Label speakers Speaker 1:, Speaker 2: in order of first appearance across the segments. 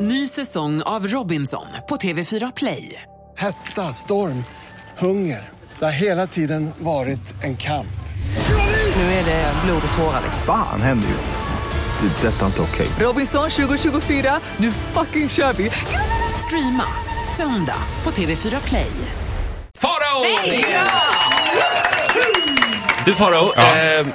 Speaker 1: Ny säsong av Robinson på TV4 Play.
Speaker 2: Hetta, storm, hunger. Det har hela tiden varit en kamp.
Speaker 1: Nu är det blod och tårar. liksom.
Speaker 3: Fan händer just nu. Det. är Detta är inte okej.
Speaker 1: Robinson 2024, nu fucking kör vi! Streama söndag på TV4 Play.
Speaker 4: Farao! Du Farao, eh,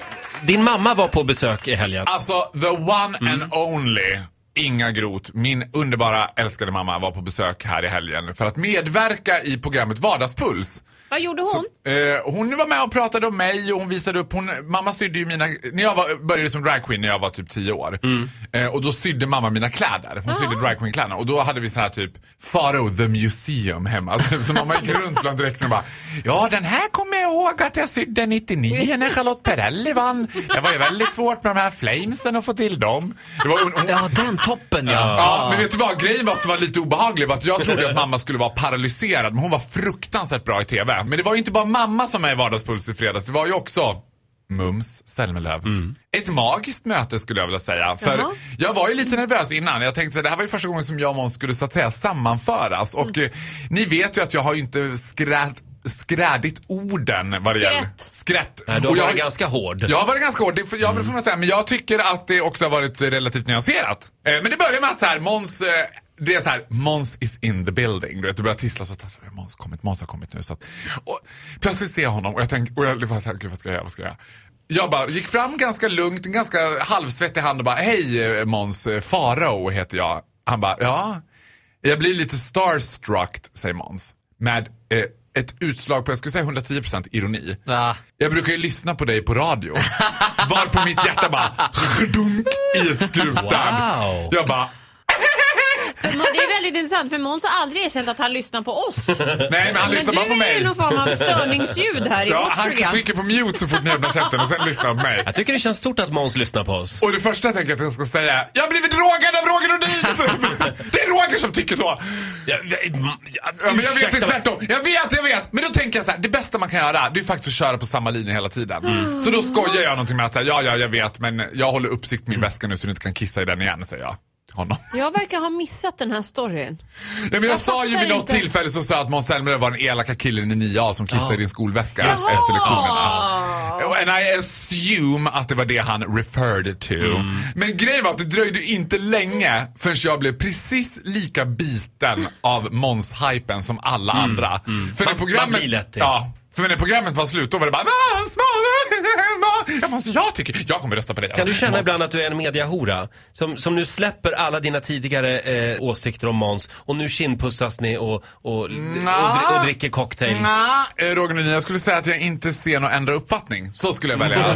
Speaker 4: din mamma var på besök i helgen.
Speaker 5: Alltså, the one and only Inga Groth, min underbara älskade mamma, var på besök här i helgen för att medverka i programmet Vardagspuls.
Speaker 6: Vad gjorde hon?
Speaker 5: Eh, hon var med och pratade om mig och hon visade upp, hon, mamma sydde ju mina, när jag var, började som dragqueen när jag var typ 10 år. Eh, och då sydde mamma mina kläder, hon sydde dragqueen-kläderna. Och då hade vi sån här typ Faro the Museum hemma. Alltså, så mamma gick runt bland dräkterna och bara, ja den här kommer jag ihåg att jag sydde 99 när Charlotte Perrelli vann. Det var ju väldigt svårt med de här flamesen att få till dem. Det var, hon, hon,
Speaker 7: Ja, den toppen ja.
Speaker 5: Ja, men vet du vad? Grejen var som var lite obehaglig var att jag trodde att mamma skulle vara paralyserad men hon var fruktansvärt bra i TV. Men det var ju inte bara mamma som är i Vardagspuls i fredags, det var ju också Mums Zelmerlöw. Ett magiskt möte skulle jag vilja säga. För
Speaker 6: Jaha.
Speaker 5: Jag var ju lite nervös innan. Jag tänkte att det här var ju första gången som jag och Måns skulle så att säga sammanföras. Och eh, ni vet ju att jag har ju inte skräd, skrädigt orden vad det
Speaker 6: Skrätt.
Speaker 5: gäller. Skrätt.
Speaker 4: Nej, du
Speaker 5: Och
Speaker 4: har
Speaker 5: jag
Speaker 4: varit
Speaker 5: ju-
Speaker 4: ganska hård. Mm.
Speaker 5: jag har varit ganska hård, det får, jag får man säga, men jag tycker att det också har varit eh, relativt nyanserat. Eh, men det börjar med att så här, Måns, eh, det är så här, Måns is in the building. Du vet, du börjar tissla så tassar du, Måns har kommit, Måns har kommit nu. Så att, och, plötsligt ser jag honom och jag tänker, och jag var så här, gud vad ska jag göra, vad ska jag göra? Jag bara gick fram ganska lugnt, en ganska halvsvettig hand och bara, hej eh, Måns, eh, Farao heter jag. Han bara, ja? Jag blir lite starstruck, säger Måns. Med eh, ett utslag på, jag skulle säga 110% ironi.
Speaker 7: Ah.
Speaker 5: Jag brukar ju lyssna på dig på radio. Var på mitt hjärta bara dunk i ett skruvstäd.
Speaker 4: Wow.
Speaker 5: Jag bara,
Speaker 6: Men Det är väldigt intressant för Måns har aldrig erkänt att han lyssnar på oss.
Speaker 5: nej men han
Speaker 6: men
Speaker 5: lyssnar bara på
Speaker 6: du är ju
Speaker 5: mig.
Speaker 6: någon form av störningsljud här i
Speaker 5: Ja,
Speaker 6: vårt
Speaker 5: han
Speaker 6: program.
Speaker 5: trycker på mute så fort ni öppnar käften och sen lyssnar han på mig.
Speaker 4: Jag tycker det känns stort att Måns lyssnar på oss.
Speaker 5: Och det första jag tänker att jag ska säga är, jag har blivit drogad av Roger Nordin! Det är Roger som tycker så!
Speaker 4: Jag, jag, jag,
Speaker 5: Ja, men jag vet, det är
Speaker 4: ursäkta.
Speaker 5: tvärtom. Jag vet, jag vet. Men då tänker jag så här, det bästa man kan göra det är faktiskt att köra på samma linje hela tiden. Mm. Så då skojar jag någonting med att säga, ja, ja, jag vet, men jag håller uppsikt med min väska nu så du inte kan kissa i den igen, säger jag. till Honom.
Speaker 6: Jag verkar ha missat den här storyn.
Speaker 5: Nej, men jag,
Speaker 6: Jag
Speaker 5: sa ju
Speaker 6: fattar
Speaker 5: vid något
Speaker 6: inte.
Speaker 5: tillfälle så sa jag att Måns Zelmerlöw var den elaka killen i 9A som kissade i din skolväska
Speaker 6: Jaha.
Speaker 5: efter lektionerna. Och- And I assume att det var det han referred to.
Speaker 4: Mm.
Speaker 5: Men grejen var att det dröjde inte länge förrän jag blev precis lika biten av Måns-hypen som alla andra. För när
Speaker 4: Mm. Man- man blir lätt det.
Speaker 5: ja, för när programmet var slut då var det bara Måns, Måns, Måns, Måns, jag tycker, jag kommer rösta på dig.
Speaker 4: Kan du känna ibland att du är en mediahora? Som, som nu släpper alla dina tidigare eh, åsikter om Måns och nu kindpussas ni och, och, och, dri- och dricker cocktail.
Speaker 5: Nej, Eh, Roger Nordin, jag skulle säga att jag inte ser någon ändra uppfattning. Så skulle jag välja.